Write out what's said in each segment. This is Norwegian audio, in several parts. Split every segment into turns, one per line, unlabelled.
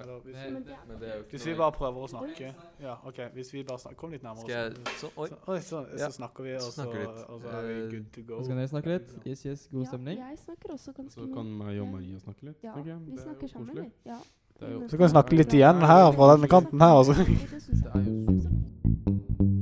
Eller hvis
Men
vi,
det
men det er jo
er-
ikke
Hvis vi
noe-
bare prøver å snakke Ja, OK. Hvis vi bare snakker Kom litt nærmere.
Skal jeg så, Oi.
Så, oi, så, så
Ja.
snakker vi,
Så
og så,
snakker vi litt.
og så er vi
Eh,
good to go.
Nå skal dere snakke litt. Yes, yes, god stemning.
Ja, jeg snakker også ganske
Så Altså, kan
mye.
meg og Maria snakke litt.
Ja,
tenker jeg.
vi
Det er
snakker
jo
sammen,
koselig.
vi. Ja.
Det er jo-
Men
Så kan vi snakke litt igjen her, fra denne kanten her, altså.
Det synes jeg absolutt.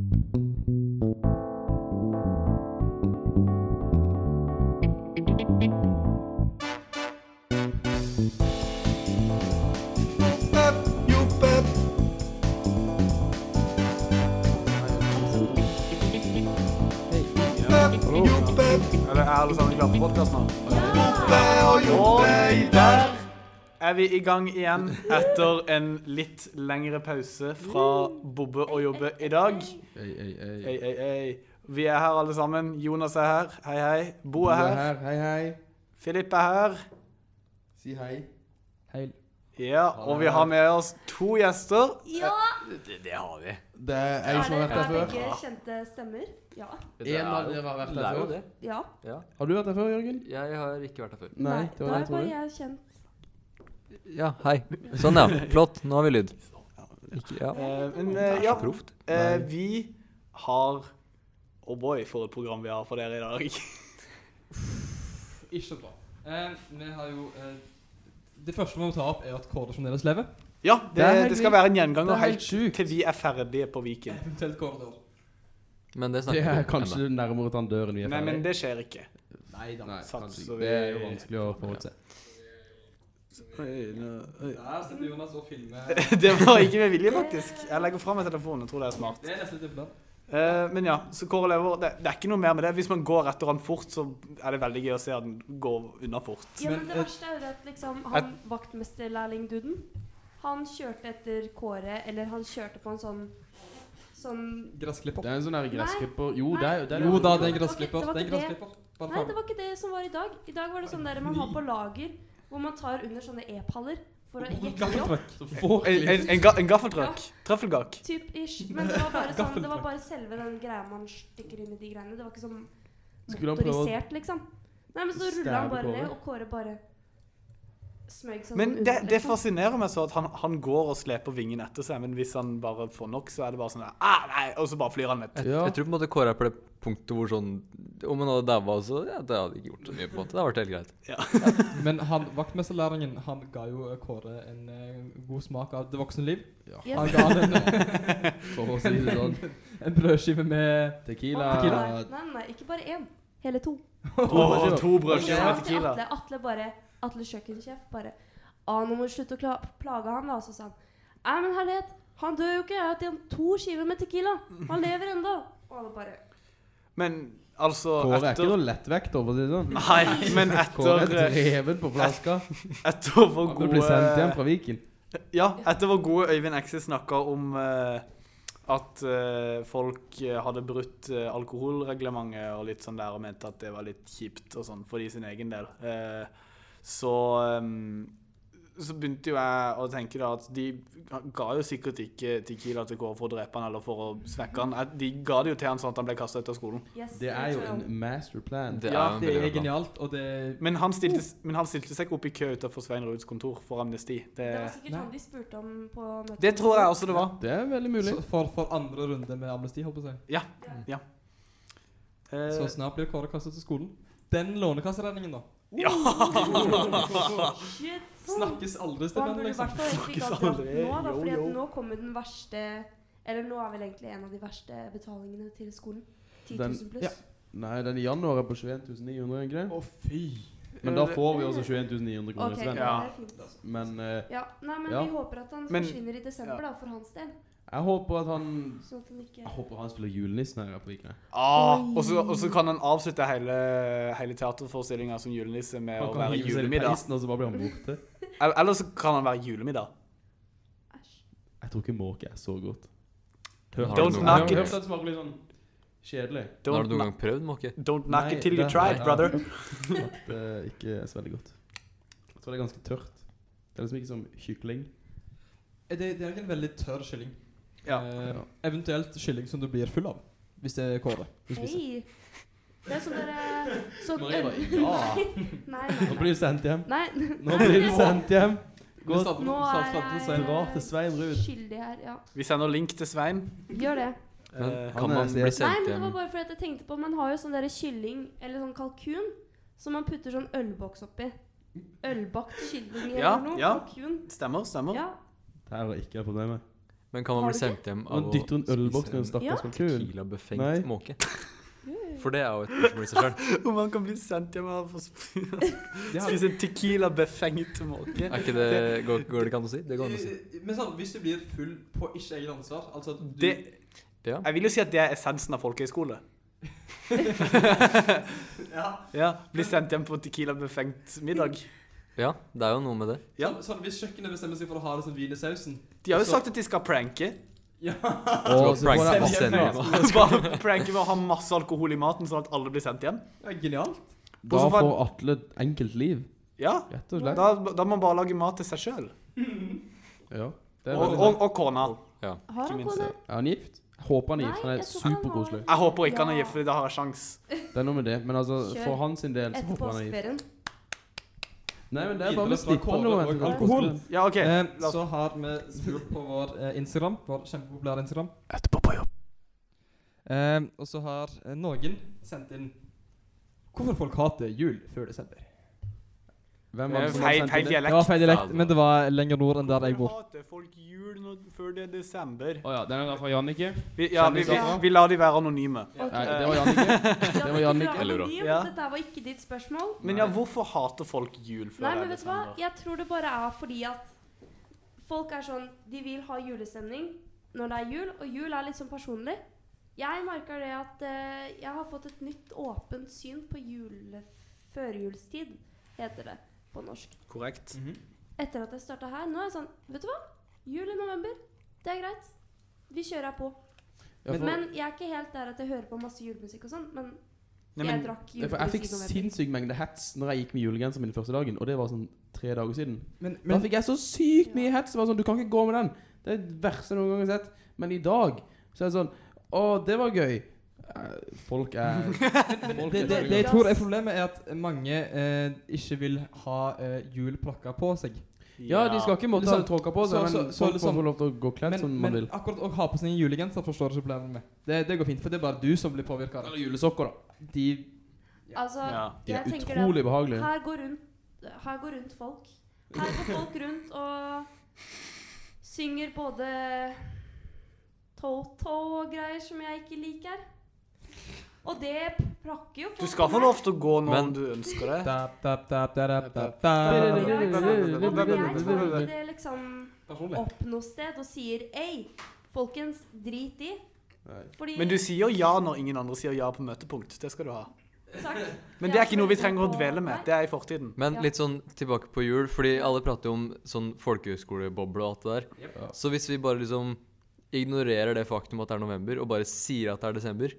Er det- er alle sammen klare for podkast nå? Og der er vi i gang igjen etter en litt lengre pause fra Bobbe og Jobbe i dag.
Ei, ei, ei.
Ei, ei, ei. Vi er her alle sammen. Jonas er her. Hei, hei. Bo
Du
er her.
Hei, hei.
Filip er her.
Si hei.
Heil.
Ja, og vi har med oss to gjester.
Ja!
Det er ei som har vært her før.
begge kjente stemmer? Ja.
Det
En av
er jo-
dere har vært
det er
her
jo
før.
det.
ja.
Har du vært her før, Jørgen?
Jeg har ikke vært her før.
Nei, det var
da
det jeg
er bare
trodde.
jeg kjent.
Ja, hei. Sånn, ja. Flott. Nå har vi lyd. Ikke, ja.
Eh, Men
Det
eh,
er så
ja,
proft.
eh, vi har Oh boy, for et program vi har for dere i dag.
Ikke bra. Eh, vi har jo eh, Det første vi må ta opp, er at Kåre fremdeles lever.
Ja,
Det er
det,
helt
det skal
vilt.
være en
Det
gjenganger
er helt
helt
sjukt.
til vi er ferdige på Viken.
Eventuelt Kåre dør.
Men det
Det
snakker vi
er
ikke om ennå.
kanskje nærmere den døren vi er
Nei, men
ferdig.
det skjer ikke.
Nei da.
Nei,
satser
kanskje.
vi-
Det er jo vanskelig å forutse.
Der sitter altså, Jonas og filmer.
Det var ikke med vilje, faktisk. Jeg legger fra meg telefonen og tror det er smart.
Det er nesten litt imponerende.
Eh, men ja, så Kåre Lever, det, det er ikke noe mer med det. Hvis man går etter han fort, så er det veldig gøy å se han gå unna fort.
Ja,
Men,
men det
eh,
verste er jo at liksom, han vaktmesterlærlingduden, han kjørte etter Kåre, eller han kjørte på en sånn Sånn
Gressklipper.
Det er en sånn der gressklipper Jo, det er jo det er
Jo da, det er en
Det var ikke-
gressklipper.
det var
Det er en
ikke det.
gressklipper. Bare
Nei,
faen.
det var ikke det som var i dag. I dag var det sånn der man har på lager, hvor man tar under sånne e-paller for å jekke de opp.
Gaffeltruck. Vår
En, en, en, ga, en gaffeltruck. Trøffelgak.
Typ ish. Men det var bare sånn Det var bare selve den greia man stikker inn i de greiene. Det var ikke sånn
Skulle han prøve å-
motorisert, liksom. Nei, men så rulla han
Stabbe
bare
Kåre?
ned, og Kåre bare smøg sånn
Men
under,
det, det
liksom.
fascinerer meg så at han, han går og sleper vingen etter seg, men hvis han bare får nok, så er det bare sånn der, ah, nei, Og så bare flyr han ned.
Jeg,
Ja.
jeg tror på en måte Kåre er på det punktet hvor sånn Om han hadde daua også, ja, det hadde ikke gjort så mye. på en måte. Det hadde vært helt greit.
Men han, vaktmesterlæringen han ga jo eh, Kåre en eh, god smak av det voksne liv.
Yes.
Han ga han en, eh,
For å si det sånn.
en brødskive med
Tequila
Å,
Tequila.
Nei, nei, nei, ikke bare én. Hele to.
Åh, to
Og
brødskiver med
så sa til
tequila.
Atle, Atle bare Atle kjøkkensjef bare Å, nå må du slutte å kla plage han, da. Og så sa han Nei, men herlighet, han dør jo ikke. Jeg har hatt igjen to skiver med tequila. Han lever ennå. Og alle bare
Men altså
Kåre er ikke
etter,
noe lettvekt, for å si det sånn.
Nei, men
Kåre er
etter,
dreven på flaska.
etter hvor
Han blir sendt hjem
gode
fra Viken.
Ja, etter hvor gode Øyvind Ekse snakka om eh, at eh, folk eh, hadde brutt eh, alkoholreglementet og litt sånn der, og mente at det var litt kjipt og sånn for de sin egen del, eh, så eh, så begynte jo jeg å tenke da at de ga jo sikkert ikke Tequila til Kåre for å drepe han eller for å svekke han. Eh, De ga det jo til han sånn at han ble kasta ut av skolen.
Yes.
Det er
jeg
jo
tror
en
han-
masterplan.
Det
Ja,
jo en
Det
veldig
er
bra plan.
genialt, og det
Men han stilte, men han stilte seg ikke opp i kø utenfor Svein Ruuds kontor for amnesti. Det,
Det var sikkert
Nei.
han de spurte om på møtet.
det tror jeg også det var.
Det er veldig mulig.
så for, for andre runde med amnesti, holdt på å si.
Eh,
Så snart blir Kåre kastet til skolen. Den lånekasseregningen, da.
Shit.
Snakkes aldri,
Og han
Stefan.
burde i hvert
Liksom.
fall egentlig ikke
Snakkes
ha dratt nå, da,
aldri.
fordi
Jo, jo.
at nå kommer den verste Eller nå er vel egentlig en av de verste betalingene til skolen. 10
Den-
000 pluss.
ja.
Nei, den i januar er på 21 900, er den ikke
Å, fy.
det? Men da får vi også 21 900 kroner i
Ok,
spenn.
ja.
Ja.
det er fint.
Men eh,
Ja, nei, men
Ja.
vi håper at han
Men-
forsvinner i desember, da, for hans del.
jeg håper at han
Sånn at han ikke
Jeg håper han spiller julenissen her på Vikene.
Ah,
Oi.
og, så, og så kan han avslutte hele, hele teaterforestillinga som julenisse med å
Han kan
være
hive seg i
julemiddag.
peisen, og så bare blir han borte.
Eller eller så kan han være julemiddag.
Æsj.
Jeg tror ikke måke er så godt.
Har
Don't
du noen
knock
gang-
it.
Hørt at det smaker litt sånn kjedelig.
Har du
Don't,
noen gang prøvd måke?
don't knock
Nei,
it till you
det-
try it,
ja.
brother.
At det ikke er så veldig godt. Jeg tror det er ganske tørt. Det er liksom ikke som kykling.
Eh, Det, det er ikke en veldig tørr kylling.
Ja.
Eh,
Ja.
eventuelt kylling som du blir full av, hvis det er Kåre. Du spiser.
Hei! Det er sånn derre sånn
Maria bare,
Nei, nei,
Nå
nei.
blir du sendt hjem.
nei.
Nå blir du sendt hjem. Gå
Vi starter-
Nå
starter-
er
starter å si-
jeg-
dra til Svein Ruud.
Skyldig her, ja.
Vi sender link til Svein.
Gjør det.
Men
Eh,
han
kan man
er-
bli
Nei,
sendt
men det
hjem?
var bare fordi at jeg tenkte på Man har jo sånn der kylling eller sånn kalkun som man putter sånn ølboks oppi. Ølbakt kylling
Ja,
eller noe.
ja.
Kalkun.
stemmer, stemmer.
Ja.
Det her er ikke jeg fornøyd med.
Men kan man
Har
bli
du
sendt hjem
Nå
av å
dytter hun ølboks ned en
spise
stakkars
en
kalkun. Nei.
tequila-befengt måke?
Jo, jo, jo.
For det er jo et spørsmål i seg sjøl.
Om han kan bli sendt hjem og få sp-
Det har-
spise en tequila-befengt måke.
Er ikke det går, går det ikke an å si? Det går an å si.
Men sånn, hvis du blir full på ikke eget ansvar altså at du,
Det,
Ja.
jeg vil jo si at det er essensen av folkehøyskole. ja. Bli sendt hjem på tequila-befengt middag.
ja, det er jo noe med det.
Ja.
sånn, sånn, Hvis kjøkkenet bestemmer seg for å ha det som vin i sausen
De
Altså-
har jo sagt at de skal pranke.
Ja,
Skal
så får
pranke
jeg
og sende
avsender.
hjem.
Bare pranke med å ha masse alkohol i maten, sånn at alle blir sendt hjem.
ja genialt.
Da
Bortsett fra-
får Atle et enkelt liv,
Ja,
rett og slett.
Da, da må man bare lage mat til seg sjøl.
Ja, det er
Og,
veldig
og, og kona.
Har han
Ikke minst
kone?
Er han gift? Jeg håper han er
Nei,
gift. Han er
jeg tror ikke han var-
superkoselig.
Jeg håper ikke han er
Ja.
gift, for da har jeg sjans.
Det er noe med det. Men altså,
Kjør.
for hans sin del så
Etter
håper jeg han er gift.
påskeferien.
Nei, men det er
Videre
bare vi
fra
slipper
Kåre
noe.
og
etter hvert.
alkohol.
Ja, OK.
Eh,
la oss-
så har vi spurt på vår eh, Instagram, vår kjempepopulære Instagram.
Etterpå på jobb.
Eh, og så har eh, noen sendt inn hvorfor folk hater jul før desember.
Hvem var det som
Feil-
hadde sendt
feil
inn det?
Det
dialekt.
var feil dialekt, men det var lenger nord enn der jeg bor.
Hvorfor hater folk jul nå- før det er desember?
Å ja, den er da fra Jannicke.
Vi, ja, vi, vi,
Kjendiser.
vi lar de være anonyme.
Nei, det var Jannicke.
Ja,
var
dette
Jannicke.
var
Eller bra.
anonymt.
Ja.
Dette var ikke ditt spørsmål.
Men ja, hvorfor hater folk jul før
Nei,
det
men
er
vet
sånn
du hva?
desember?
Jeg tror det bare er fordi at folk er sånn De vil ha julestemning når det er jul, og jul er litt sånn personlig. Jeg merker det at eh, jeg har fått et nytt åpent syn på jule... Førjulstid, heter det på norsk.
Korrekt.
Etter at jeg starta her, nå er jeg sånn Vet du hva? Jul i november, det er greit. Vi kjører her på.
Ja, for-
Men jeg er ikke helt der at jeg hører på masse julemusikk og sånn, men,
Nei,
jeg
men
drakk
Ja, for jeg fikk
julemusikk i november.
sinnssyk mengde hats når jeg gikk med julegenser min første dagen, og det var sånn tre dager siden.
Men,
da fikk jeg så sykt mye hats. Det var sånn, Du kan ikke gå med den. Det er det verste jeg noen gang har sett. Men i dag så er det sånn Å, det var gøy. Eh, Folk er
det, det, det jeg tror er problemet, er at mange eh, ikke vil ha eh, jul plakka på seg.
Ja, de skal ikke måtte
Liksom,
ha det tråkka på
så-
seg,
så-
men
så
folk
liksom-
må få lov til å gå kledd
Men,
som man
men
vil.
akkurat å ha på seg en julegenser forstår jeg ikke problemet med. Det, det går fint, for det er bare du som blir påvirka.
Eller julesokker, da.
De
Altså,
Ja.
De
jeg
er
tenker det at
utrolig behagelige.
Her går rundt, her går rundt folk. Her går folk rundt og synger både Toto og greier som jeg ikke liker. Og det plakker jo folk.
Du skal få lov til å gå nå om
Men-
du ønsker det.
da, da, da, da, da, da,
Ja,
da.
ikke sant? Og men jeg tar ikke det liksom
Personlig.
opp noe sted og sier ei, folkens, drit i. Fordi
Men du sier ja når ingen andre sier ja på møtepunkt. Det skal du ha.
Takk.
Men det er
Jeg
ikke noe vi
føler
trenger å
på-
dvele med.
Nei.
Det er i fortiden.
Men
Ja.
litt sånn tilbake på jul, fordi alle prater jo om sånn folkehøyskoleboble og alt det der.
Ja.
Så hvis vi bare liksom ignorerer det faktum at det er november, og bare sier at det er desember,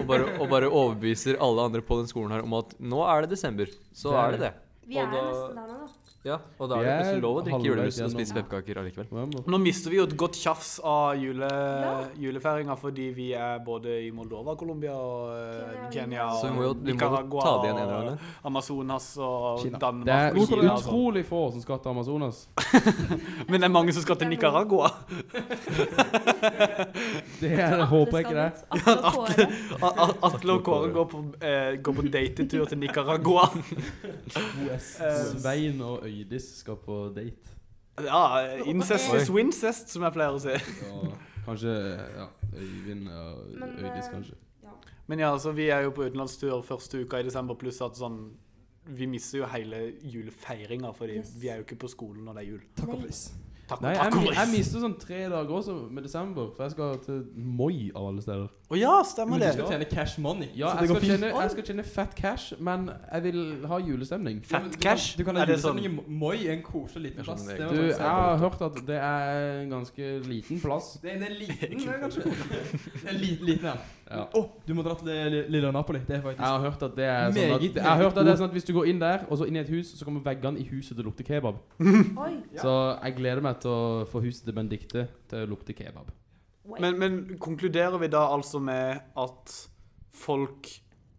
og bare, og bare overbeviser alle andre på den skolen her om at nå er det desember, så
Det er
er det det.
Vi er
Og da-
nesten der nå, da.
Ja, og da er
Vi
det
er
plutselig lov å drikke
halvveis
julelusen og spise
gjennom.
pepperkaker allikevel.
November.
Nå mister vi jo et godt tjafs av jule,
Ja.
julefeiringa fordi vi er både i Moldova, Colombia og eh,
Kenya
Kenya
og-
Så
og
vi må jo vi må jo
Nicaragua
ta det igjen en eller
og
annen gang.
Amazonas og
Kina.
Det er
Danmark og Kina. og sånn.
utrolig få som skal til Amazonas.
Men det er mange som skal til Nicaragua.
Det er, håper jeg ikke det.
Atle og Kåre.
A- A- Atle og Kåre går på, eh, går på datetur til Nicaragua. Eh,
Svein og Øydis skal på date.
ja, incest is wincest, som jeg pleier å si.
Og kanskje ja, Øyvind og
Men,
Øydis,
eh,
kanskje.
Men ja, altså, vi er jo på utenlandstur første uka i desember, pluss at sånn Vi mister jo hele julefeiringa, fordi
Yes.
vi er jo ikke på skolen når det er jul.
Takk og pris.
Takk
Nei,
Ah,
og
jeg,
takk.
mi- jeg
Boris.
mister sånn tre dager også med desember, for jeg skal til Moi av alle steder.
Å ja, stemmer
Men du
det.
skal tjene cash money.
Ja,
så
jeg
det går
skal,
fint.
tjene, jeg skal tjene fett cash, men jeg vil ha julestemning.
Ja, men
Fett
du kan-
cash.
Du kan ha
Er det sånn?
julestemning i Mo- Moi, en koselig
Det
liten
er
plass.
sånn det
må
Du,
jeg
jeg
si.
har hørt at det er en ganske liten plass.
Det er en liten, kanskje. Det er en li- liten en.
Ja.
Å, du må dra til li- lille Napoli. Det er
Jeg
faktisk
har hørt at det er sånn at,
Meget,
jeg har hørt at det er
meget
sånn at hvis du går inn der, og så inn i et hus, så kommer veggene i huset til å lukte kebab.
Oi.
Så jeg gleder meg til å få huset til Benedicte til å lukte kebab.
Wait.
Men, men konkluderer vi da altså med at folk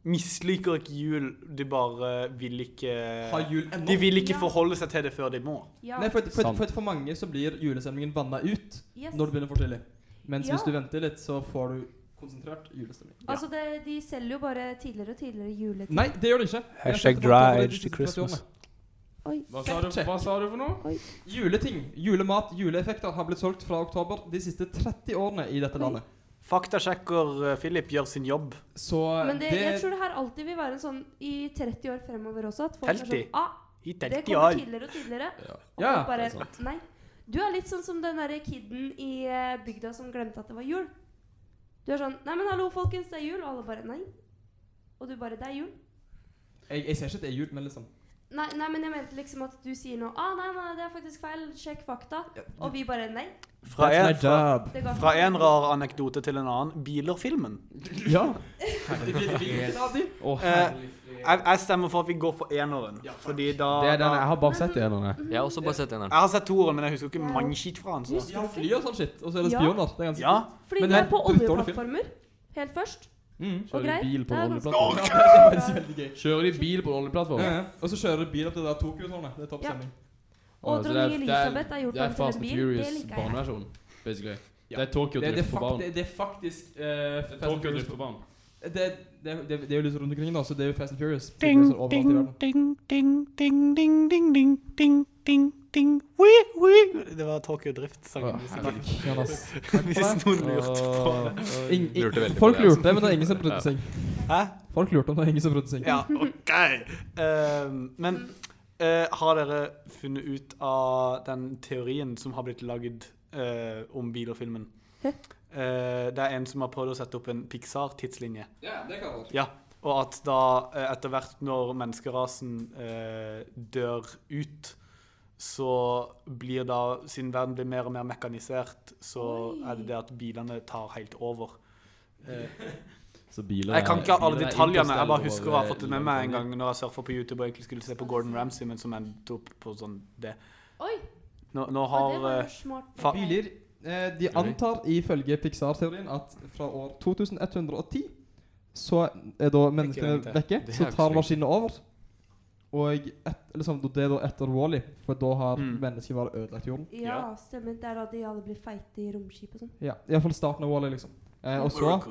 misliker ikke jul, de bare vil ikke
Ha jul
De
ennå.
vil ikke
Ja.
forholde seg til det før de må.
Ja.
Nei, for, for,
Sant.
for, for, mange så blir julestemningen vanna ut
Yes.
når det begynner for tidlig. Mens
Ja.
hvis du venter litt, så får du konsentrert julestemning.
Altså, det, de selger jo bare tidligere og tidligere juletid.
Nei, det gjør det ikke. Vi har
Hashtag
sett det fram
dry
til
age
de
to
siste
Christmas.
30 årene.
Oi.
Hva sa, du, hva sa du for noe?
Juleting, julemat, juleeffekter har blitt solgt fra oktober de siste 30 årene i dette
Oi.
landet.
Faktasjekker eh, Philip gjør sin jobb.
Så
Men det,
det,
jeg tror det her alltid vil være en sånn i 30 år fremover også. At folk er
Heldig.
sånn ah,
I
Det
30
kommer
år.
tidligere og tidligere. Og
Ja,
folk bare,
det er
Nei. Du er litt sånn som den derre kiden i eh, bygda som glemte at det var jul. Du er sånn Nei, men hallo, folkens, det er jul. Og alle bare Nei. Og du bare Det er jul.
jeg, jeg ser ikke at det er jul, men liksom
Nei, nei, men jeg mente liksom at du sier noe ah, nei, nei, det er faktisk feil. Sjekk fakta. Og vi bare Nei.
Fra en, fra,
Det går
fra en rar anekdote til en annen. Biler-filmen.
Ja.
Hvilken av de?
Å,
Eh, jeg, jeg stemmer for at vi går for eneren. Fordi da,
det er den,
Ah, da
jeg har bare sett det ene.
Jeg har også bare sett eneren.
Jeg har sett toeren, men jeg husker ikke mannskitt fra han. Så.
Ja, fly og sånn shit. Og så er det
Ja.
spioner. Det er ganske
Ja,
Fordi
Men
du
det
er
er
på
en drittdårlig film.
oljeplattformer helt først.
Mm.
Og
Kjører
greit.
de bil på
det er
en
ganske
oljeplattform?
Det
bra.
er faktisk veldig gøy.
Kjører de bil på en
Ja,
oljeplattform?
ja. Og så kjører de bil opp til det der Tokyo-tårnet. Det er topp
Ja.
stemning.
Og
så det
dronning
det
Elisabeth er gjort
Det
om
er
til
Fast
en
and
bil. Det
Furious
liker jeg.
barneversjon, basically.
Ja.
Det er Tokyo
Det, det, er
Drift for
fak-
barn.
det, det er faktisk eh, Fast and
Tokyo
Furious
Drift for barn.
Det, det, det, det er jo litt rundt omkring, da, så det er jo Fast and Furious. Ding, ding, ding.
Det var Tokyo Drift-sangen. hvis ikke-
Ja, ass.
Hvis noen lurte på det.
Ing- ing-
Lurte veldig på
folk
det, altså.
lurte, men det er ingen som brydde seg.
Hæ?
Folk lurte, men det er ingen som brydde seg.
Ja, OK. Ehm, men eh, har dere funnet ut av den teorien som har blitt lagd eh, om bilerfilmen?
Hæ?
Eh, det er en som har prøvd å sette opp en Pixar-tidslinje.
Ja, det kan være.
Og at da, eh, etter hvert når menneskerasen eh, dør ut, så blir da Siden verden blir mer og mer mekanisert, så
Oi.
er det det at bilene tar helt over. Eh,
Så biler
jeg kan ikke
biler
alle
er
detaljene. Jeg bare
interstellar
husker å ha
over eh,
fått det med meg en
landet.
gang når jeg surfa på YouTube og egentlig skulle se på Gordon Ramsay, men som endte opp på sånn det.
Oi,
Nå, nå
ja, det
har
var
eh,
jo smart.
fa-
Biler eh, De antar ifølge Pixar-teorien at fra år 2110 så er da menneskene
Ikke
vekke.
Det er
Så
ikke så
tar
lenge.
maskinene over. Og et, liksom, det er da etter Wally, for da har
Mm.
mennesket bare ødelagt jorden.
Ja, stemmer. Det er da de alle blir feite i romskip og sånn.
Ja, Iallfall starten av Wally, liksom. Eh, og, så, og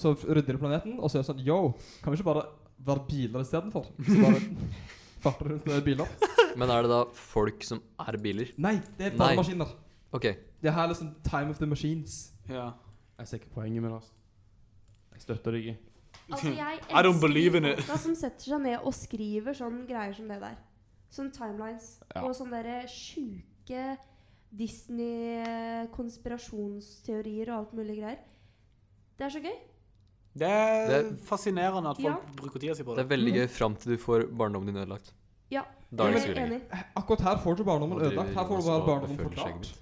så rydder de planeten, og så er det sånn Yo, kan vi ikke bare være biler istedenfor? Så bare farter rundt med biler.
Men er det da folk som er biler?
Nei, det er bare
Nei.
maskiner.
OK.
Det her er liksom time of the machines.
ja.
Jeg ser ikke poenget med det. altså. Jeg støtter deg ikke.
Altså, jeg
I don't
elsker
believe in
de
it.
folka som setter seg ned og skriver sånn greier som det der. Sånn timelines.
Ja.
Og sånne der sjuke Disney-konspirasjonsteorier og alt mulig greier. Det er så gøy.
Det er
Det-
fascinerende at folk
Ja.
bruker tida si på
Det
det.
er veldig gøy fram til du får barndommen din ødelagt.
Ja.
Da er det
Jeg
ikke så lenge.
enig.
Akkurat her får du barndommen
Nå driver
ødelagt. Her får du
Jonas
bare
og
barndommen
føler
forklart.
seg litt.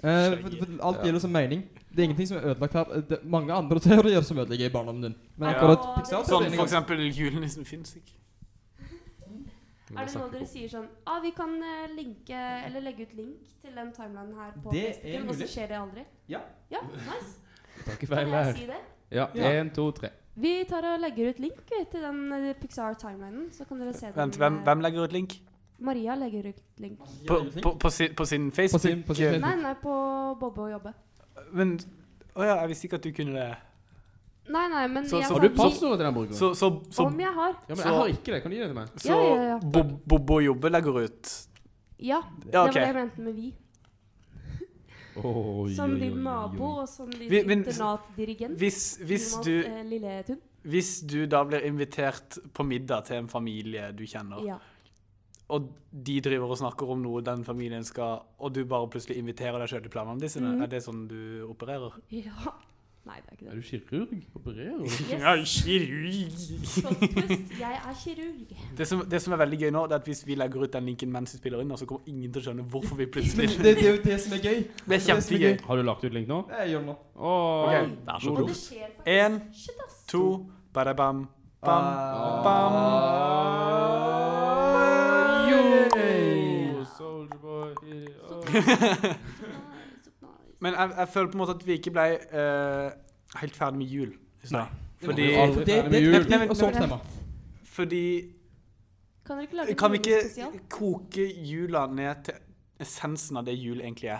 Eh, for, for alt
Ja.
gjelder som mening. Det er ingenting som er ødelagt her. Det er mange andre teorier som ødelegger barndommen din. Men
Ja.
akkurat
Åh, det er
Pixar så er
Sånn
det
for
en gang.
eksempel julenissen fins ikke.
Men
Er
det
det nå
snakker vi
dere
ikke
sier sånn ah, vi kan eh, linke eller legge ut link til den timelinen her på
Det er
Facebooken, og så
mulig.
skjer det aldri?
Ja.
Ja, nice.
Takk for
Kan jeg
meg.
si det?
Ja,
Ja.
én, to, tre.
Vi tar og legger ut link vi, til den eh, Pixar-timelinen, så kan dere se den.
Vent, hvem,
eh,
hvem legger ut link?
Maria legger ut link.
På, på, på, sin, på sin Facebook?
sin- på sin
eh,
Facebook.
Nei, nei, på Bobbe og jobbe.
Men Å ja, jeg visste ikke at du kunne det.
Nei, nei, men
Så-
jeg
så
Har
sa-
du passordet til den brukeren?
Så, så, så,
Om jeg har.
ja, men
så-
jeg har ikke det. Kan du gi det til meg?
så
ja, ja, ja.
Bob- Bobo Jobbe legger ut.
Ja,
Ja,
det var det
OK.
jeg mente med vi.
Oi,
Som
oi, oi,
din
oi,
nabo
oi.
og som din
Vi- men-
internatdirigent.
Hvis, hvis,
Jonas,
du,
eh, Lille Tun.
hvis du da blir invitert på middag til en familie du kjenner,
Ja.
og de driver og snakker om noe den familien skal Og du bare plutselig inviterer deg sjøl til planene disse,
Mhm.
er det sånn du opererer?
ja. Nei, det er ikke
Er
det.
du kirurg? Opererer du?
Yes.
Ja, kirurg.
Plot twist, jeg er kirurg.
Det som, det som er veldig gøy nå, det er at hvis vi legger ut den linken mens vi spiller inn, så kommer ingen til å skjønne hvorfor vi
Men
plutselig
det, det er jo det som er gøy.
Det er kjempegøy.
Har du lagt ut link nå?
Jeg gjør det nå.
Åh.
Ok,
Oi.
vær så
Og det
god.
skjer faktisk.
En.
Shit, ass.
To, badabam, bam,
Ah.
bam.
Yo, soldier boy.
Så
Oh.
nice, så nice, så nice.
Men jeg, jeg føler på en måte at vi ikke ble eh, helt ferdig med jul. i stad. Fordi,
Aldri
For det- det-
ferdig med jul.
det- det-
Og sånt tema.
fordi
Kan dere ikke lage
Kan vi
noe spesial?
ikke koke jula ned til essensen av det jul egentlig er?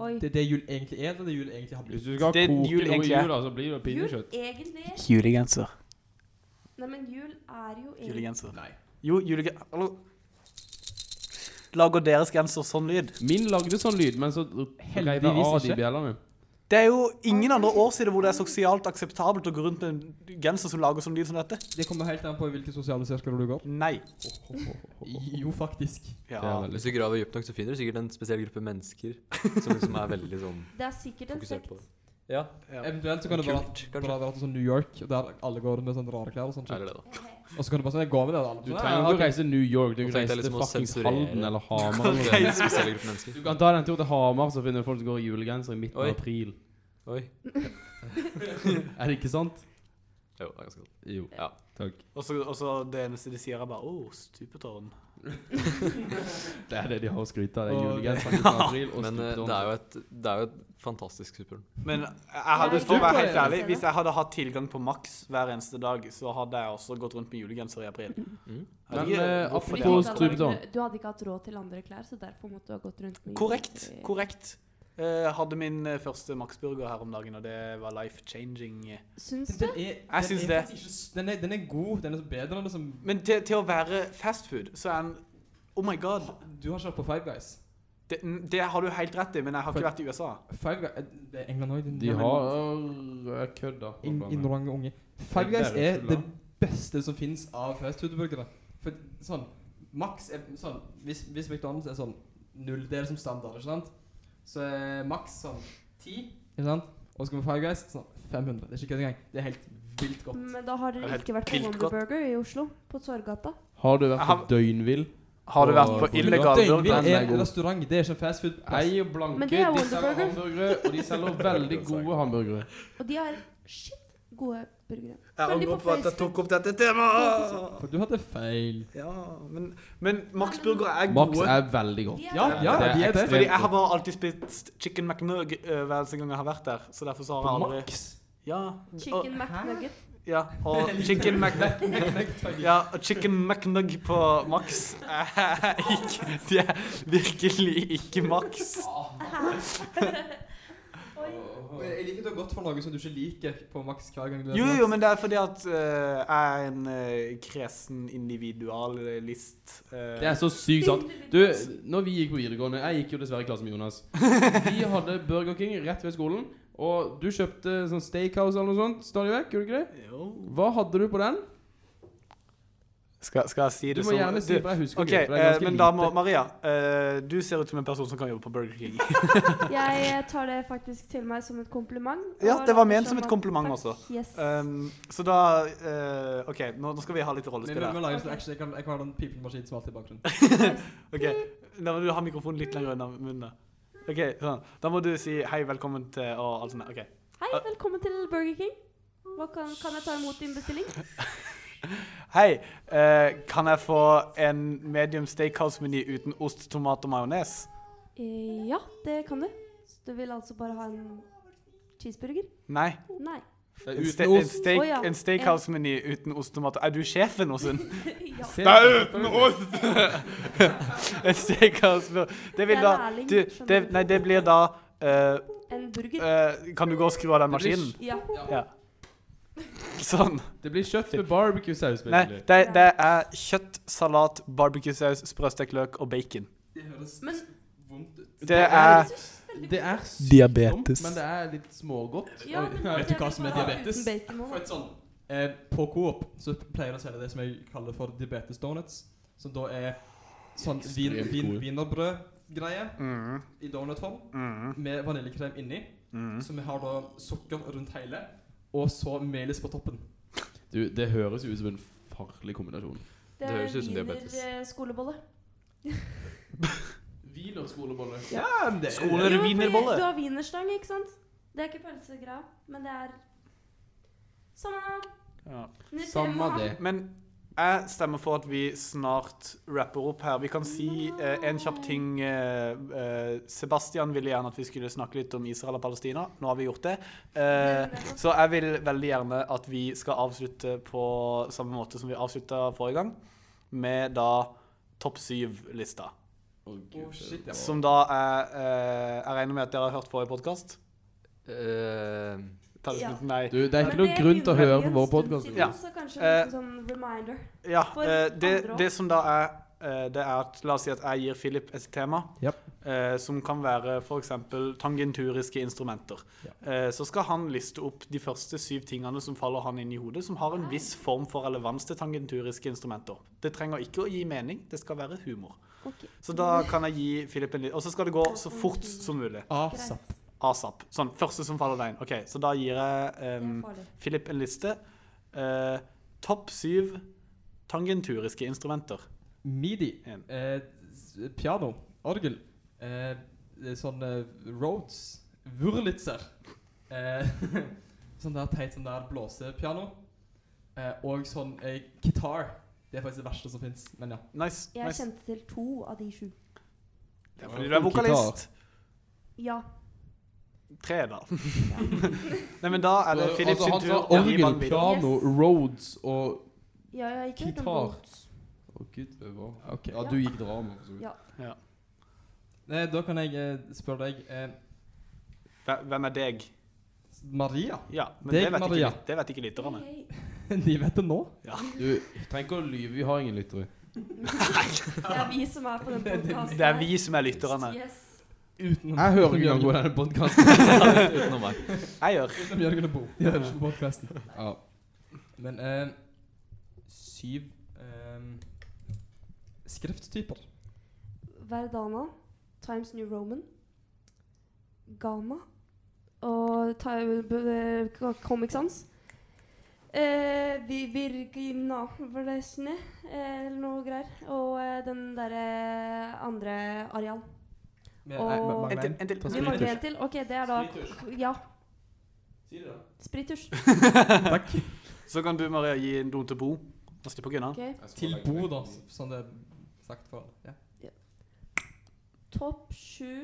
Oi.
Det er det jul egentlig er, det er det jul egentlig har blitt.
Hvis du skal
Det er
koke
jul
noe i
egentlig, ja.
jula, så blir det
Jul,
pinnekjøtt.
egentlig
Julegenser.
Nei, men jul er jo egentlig
Julegenser. Nei. Jo, julegenser Lager deres genser sånn lyd?
Min lagde sånn lyd, men så reiv jeg
Heldigvis
av de
ikke.
bjellene.
Det er jo ingen andre år siden hvor det er sosialt akseptabelt å gå rundt med en genser som lager sånn lyd som dette.
Det kommer helt an på i hvilke sosiale sirkler du går.
Nei.
Jo, faktisk.
Det er
Ja.
veldig
Hvis du graver dypt nok, så finner du sikkert en spesiell gruppe mennesker som liksom er veldig sånn
Det er sikkert en
fokusert
sekt.
på det. Ja,
ja.
Eventuelt så kan det bare
Kult,
være-
kanskje.
bare være til sånn New York, der alle går med sånn rare klær og sånt.
eller det, da.
Og så kan du bare sånn, jeg går med det. og alle
Du
sånn,
trenger
«Ja,
ikke
ok».
å reise til New York, du kan
Nå tenkte
reise
jeg
til
liksom å
fuckings
sensurere.
Halden eller Hamar.
Kan
eller-
reise-
Spesielle gruppe mennesker.
Du kan ta deg en tur til Hamar, så finner du folk som går i julegenser i midten
Oi.
av april.
Oi.
Er det ikke sant?
Jo, det er ganske godt.
Jo.
Ja.
Takk.
Og så og så det eneste de sier, er bare 'Å, stupetårn'.
Det er det de har å skryte av. det er
Og-
Julegenser i midten av april og
Men eh, det er
stupetårn.
jo et, det er jo et fantastisk superhorn.
Men jeg hadde,
Jeg
for å være
tror
helt
jeg-
ærlig, hvis jeg hadde hatt tilgang på Max hver eneste dag, så hadde jeg også gått rundt med julegenser i april.
Mm.
Jeg vet
Men,
ikke
eh,
hvorfor det
apropos
hadde-
Du hadde
Stupetårn.
ikke- Du hadde ikke hatt råd til andre klær, så derfor måtte du ha gått rundt med
Korrekt.
julegenser i-
korrekt. Eh, hadde min eh, første Max-burger her om dagen, og det var life-changing.
Syns
Den-
du?
den er-
Jeg syns
den er
det.
faktisk ikke s- Den er, den er god. Den er så bedre enn det som
Men til, til å være fastfood, så er en Oh my god.
Du har ikke vært på Five Guys.
Det, det har du helt rett i, men jeg har ikke vært i USA.
Five Guys Det er England òg.
De har Jeg kødda.
Innrangende unge. Five Guys
Det er
er
tull, da.
det beste som fins av fastfood-burgere. For sånn Max er sånn Hvis, hvis McDonald's er sånn nulldel som standard, ikke sant, så er Max sånn ti, ikke sant, og så kommer Five Guys sånn 500. Det er ikke kødd engang. Det er helt vilt godt.
Men da har dere
Det er
ikke vært på
helt vilt
Wonder
godt.
Burger i Oslo, på Torgata.
Har du
Jeg
vært på
har-
døgnvill?
Har du vært
Og-
på
og-
illegal
Døgnvill
burger?
Den er
er
god.
en restaurant, det er ikke en fastfood.
Jeg og Blanke
Men
de
det er
selger
Wonderburger.
hamburgere, og de selger veldig gode hamburgere.
Og de har shit gode burgere.
Jeg
Følg de
angrer på at jeg
Facebook.
tok opp dette temaet.
For du hadde feil.
Ja, men, men Max-burger er
Max
gode.
er veldig godt.
De er-
Ja, ja,
Det er
de er det.
Fordi jeg har bare alltid spist chicken McNug eh, hver eneste gang jeg har vært der. Så derfor så har jeg aldri
Max.
Ja. Og,
Chicken McNugget.
ja, og chicken McNug Ja, og chicken McNug på Max er ikke De er virkelig ikke Max.
Jeg liker du er godt for noe som du ikke liker på Max hver gang du
Jo, jo, men det er fordi at eh, jeg er en eh, kresen individualist. eh,
Det er så sykt sant. Du, når vi gikk på videregående Jeg gikk jo dessverre i klasse med Jonas. Vi hadde Burger King rett ved skolen, og du kjøpte sånn Steakhouse eller noe sånt stadig vekk. Gjorde du ikke det?
jo.
Hva hadde du på den?
Skal, skal jeg si
Du
det
må gjerne si
du-
det, for jeg husker
OK,
ikke. for det er
eh,
ganske
men da må
lite.
Maria, eh, du ser ut som en person som kan jobbe på Burger King.
Jeg eh, tar det faktisk til meg som et kompliment. og
Ja, det var
later
ment som et
at-
kompliment
Takk.
også.
Yes.
Um, så da eh, OK, nå, nå skal vi ha litt
Men
rollespill
vi
her.
må lage
Ok.
sånn action. Jeg kan, jeg kan ha den pipemaskin som alltid i bakgrunnen.
Ok, Da må du ha mikrofonen litt lenger unna munnen. da. OK, sånn. Da må du si hei, velkommen til og alt sånt. der. OK.
Hei, velkommen til Burger King. Hva kan, kan jeg ta imot din bestilling?
Hei, eh, kan jeg få en medium steakhouse-meny uten ost, tomat og majones?
Eh, Ja, det kan du. Så du vil altså bare ha en cheeseburger?
Nei.
Nei.
En,
Uten
ste en,
ost.
steak
Å, ja.
en steakhouse-meny uten ost, tomat og Er du sjefen hos en?
ja.
Det er uten ost! en steakhouse Det vil
Jeg er
da
lærling,
du, det,
skjønner du.
Nei, det blir da eh,
En burger?
eh, Kan du gå og skru av den
Det blir
maskinen?
Ja.
Ja. Sånn.
Det blir kjøtt med barbecue-saus.
Nei,
basically.
det, det er kjøtt, salat, barbecuesaus, sprøstekt løk og bacon.
Det høres
Men
vondt ut.
Det er
Det er sykt
Diabetes.
dumt, men det er litt smågodt.
ja, men
Vet du
jeg
hva
vil
som er
bare ha
diabetes?
Uten bacon
For
også.
et sånn eh, På Coop så pleier de å selge det som jeg kaller for diabetes donuts. Som da er sånn vin,
Ekstremt
vin,
gode.
wienerbrødgreie
Mm,
i donutform
mm,
med vaniljekrem inni.
mm.
Så vi har da sukker rundt hele, og så melis på toppen.
Du, det høres jo ut som en farlig kombinasjon.
Det høres ut som
wiener,
diabetes.
eh, skolebolle.
Wienerskålebolle.
Ja, men det
Skole- Eller
Jo, fordi
wienerbolle.
Du har wienerstang, ikke sant? Det er ikke pølsegreia, men det er Samme
Ja.
Men det
Samme
må ha-
det.
Men Jeg stemmer for at vi snart rapper opp her. Vi kan si eh, en kjapp ting. Eh, eh, Sebastian ville gjerne at vi skulle snakke litt om Israel og Palestina. Nå har vi gjort det. Eh, så jeg vil veldig gjerne at vi skal avslutte på samme måte som vi avslutta forrige gang, med da topp syv-lista.
Å, shit, ja.
Som da er eh, Jeg regner med at dere har hørt forrige podkast?
Eh,
Ta det
Ja.
slutt? Nei.
Du, det er ikke noe grunn til å høre på våre podkaster.
Ja.
Ja. Så kanskje
Eh,
en sånn reminder.
Ja,
For
eh, det,
andre år.
det som da er eh, det er at, La oss si at jeg gir Philip et tema
Japp.
eh, som kan være f.eks. tangenturiske instrumenter. Eh, så skal han liste opp de første syv tingene som faller han inn i hodet, som har en
Ah.
viss form for relevans til tangenturiske instrumenter. Det trenger ikke å gi mening, det skal være humor.
Ok.
Så da kan jeg gi Philip en liten Og så skal det gå så fort som mulig.
Greit.
ASAP. Sånn, første som faller deg inn. OK, så da gir jeg
Det
um,
er farlig.
Philip en liste. Eh, Topp syv tangenturiske instrumenter.
Midi.
En.
Eh, s- piano. Orgel. Eh, det er sånn eh, Rhodes. Wurlitzer. Eh, sånn der teit sånn der blåsepiano. Eh, og sånn eh, gitar. Det er faktisk det verste som fins, men ja.
Nice.
Jeg
nice.
kjente til to av de sju.
Det er fordi du er vokalist.
Ja.
Tre, da. Nei, men da er det
Så,
Philip
altså,
sin
han
tur.
sa
Ja,
orgel,
Ivan vil.
piano, Rhodes og
ja jeg har ikke hørt om
Gitar.
Rhodes.
Å, gud. det var-
Ok.
Ja, du gikk drama. for så vidt.
Ja.
Nei, da kan jeg eh, spørre deg eh,
Hve- Hvem er deg?
Maria.
Ja, men
Deg,
det vet, ikke,
Maria.
lyt- det vet ikke lytterne.
Hei, hei.
De vet det nå.
Du trenger ikke å lyve, vi har ingen lyttere.
Det er vi som er på den podkasten.
Det er vi som er lytterne.
Yes.
Uten
Jeg hører ikke
Jørgen
engang på
og
denne podkasten.
utenom meg.
Jeg gjør.
Utenom Jørgen og Bo. De hører ikke på podkasten.
Ja.
Men eh, syv eh, skrifttyper.
Verdana, Times New Roman, Ghana og ta- b- b- Comic Sans. Eh, vi Virgina Vlesne, eh, eller noe greier. Og eh, den derre andre areal.
Med,
Og-
nei, ma- ma-
En til.
men-
En til.
Ta
Vi mangler
spiritus.
en til. Ok, det er da Ja,
Si det da.
spiritus.
Så kan du, Maria, gi noen til Bo. Og slippe unna.
Ok.
Til Bo, da, som det er sagt før. Ja.
Topp sju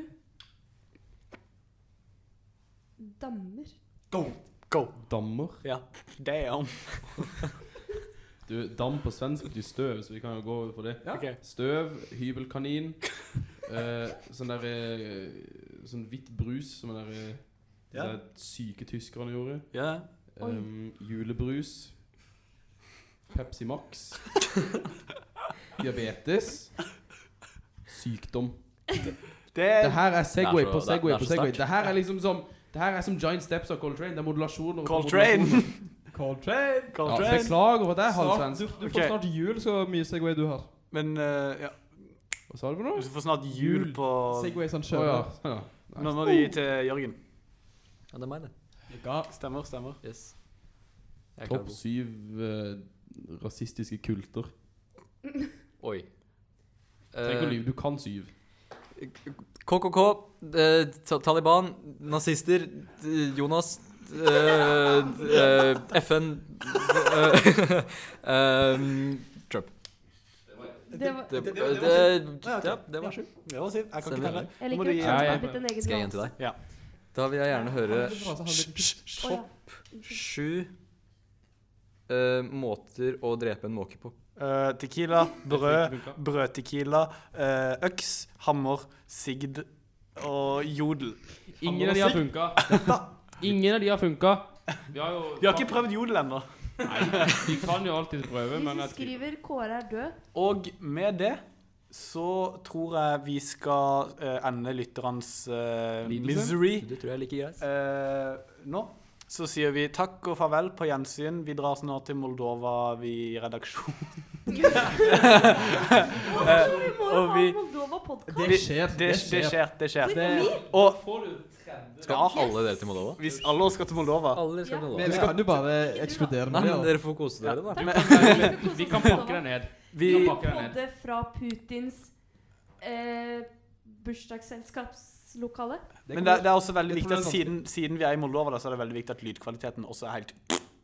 dammer.
Go.
Dammer.
Ja. Damn.
Du, dam på svensk betyr støv, så vi kan jo gå over for det.
Ja.
Ok.
Støv, hybelkanin, eh, sånn der eh, Sånn hvitt brus som den der, eh, de
Ja.
der syke tyskerne gjorde.
Ja.
Oi.
Um, julebrus. Pepsi Max. Diabetes. Sykdom.
Det
Det her er Segway
Det er så-
på
det er- det
Segway
er
på
så
Segway.
sterkt.
Det her er liksom som Det her er som Giant Steps av Coltrane. Det er modulasjon over
Coltrane.
modulasjon.
Coltrane!
Ja,
Coltrane.
beklager for det, Hans
Snart, du,
Svens.
du får
Ok.
snart jul, så mye Segway du har.
Men eh, ja,
Hva sa du for noe?
du får snart jul
Jul.
på
Segway sånn
Å
sjøl.
ja. ja.
Nå må du gi til Jørgen.
Ja, det er meg, det.
Stemmer, stemmer.
Yes. Jeg er klar,
Topp
Bo.
syv eh, rasistiske kulter.
Oi.
Trenger
Eh,
å lyve, du kan syv.
KKK, eh, Ta- Taliban, nazister, d- Jonas, eh, d- eh, FN eh, em, Trump.
Det var,
Det,
det- det var
det-
Ah, ok.
ja, det var
Ja.
sjukt.
Det var Siv. Jeg kan ikke
Stemmer.
telle. Må
jeg liker
du
at
gi-
Ja,
Trump
ja.
er blitt en egen
Skal jeg gi en til deg?
Ja.
Da vil jeg gjerne høre
Å, ja.
sju eh, måter å drepe en måke på.
Eh, tequila, brød,
Det funker.
brødtequila, eh, øks, hammer, sigd og jodel.
Ingen av de har funka. Ingen av de har funka. Vi har jo
Vi har ikke prøvd jodel ennå.
Nei, vi kan jo alltid prøve,
De
men
som
jeg tviler.
skriver 'Kåre er død',
Og med det så tror jeg vi skal eh, ende lytterens eh,
Lidelse?
misery
Det tror jeg er like greit.
eh, nå. Så sier vi takk og farvel på gjensyn. Vi drar snart til Moldova, vi i redaksjon. Eh,
Vi må jo
og
ha
vi-
Moldova-podkast.
Vi-
skjer,
Det, det skjer, det skjer.
Det
Og
Skal alle dere til Moldova?
hvis alle oss skal til Moldova
Alle skal
Ja.
til
Men
Moldova.
vi kan jo bare ekskludere
Nei,
med
men
det.
dere får kose dere, da.
Vi kan pakke deg ned.
Vi
Vi kan pakke deg ned.
podde fra Putins eh, bursdagsselskapslokale.
Men det, er- det er også veldig
Jeg
viktig
tror
at
det er
siden, siden vi er i Moldova, da, så er det veldig viktig at lydkvaliteten også er helt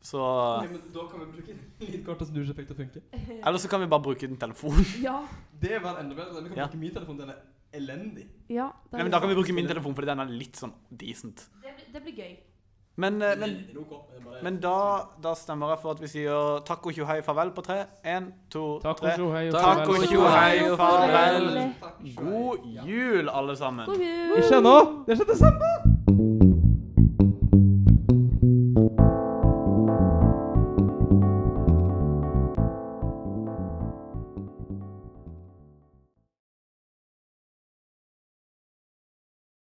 Så
Ok, men da kan vi bruke lydkort og snuseffekt til å funke.
Eller så kan vi bare bruke den telefonen.
Ja.
Det var enda bedre. Vi kan
Ja.
bruke min telefon. Den er elendig.
ja det sånn.
Nei, men Da kan vi bruke min telefon, fordi den er litt sånn decent.
det, blir- det blir gøy.
Men, eh, men,
Den er ok, den er bare-
men da, da stemmer jeg for at vi sier takk og tjo hei farvel på tre. Én, to,
Takk og
tre.
tjo hei. og
Takk
farvel.
og tjo hei og farvel.
Takk, Svein.
God jul, alle sammen.
God jul!
Ikke ennå. Det er ikke desember.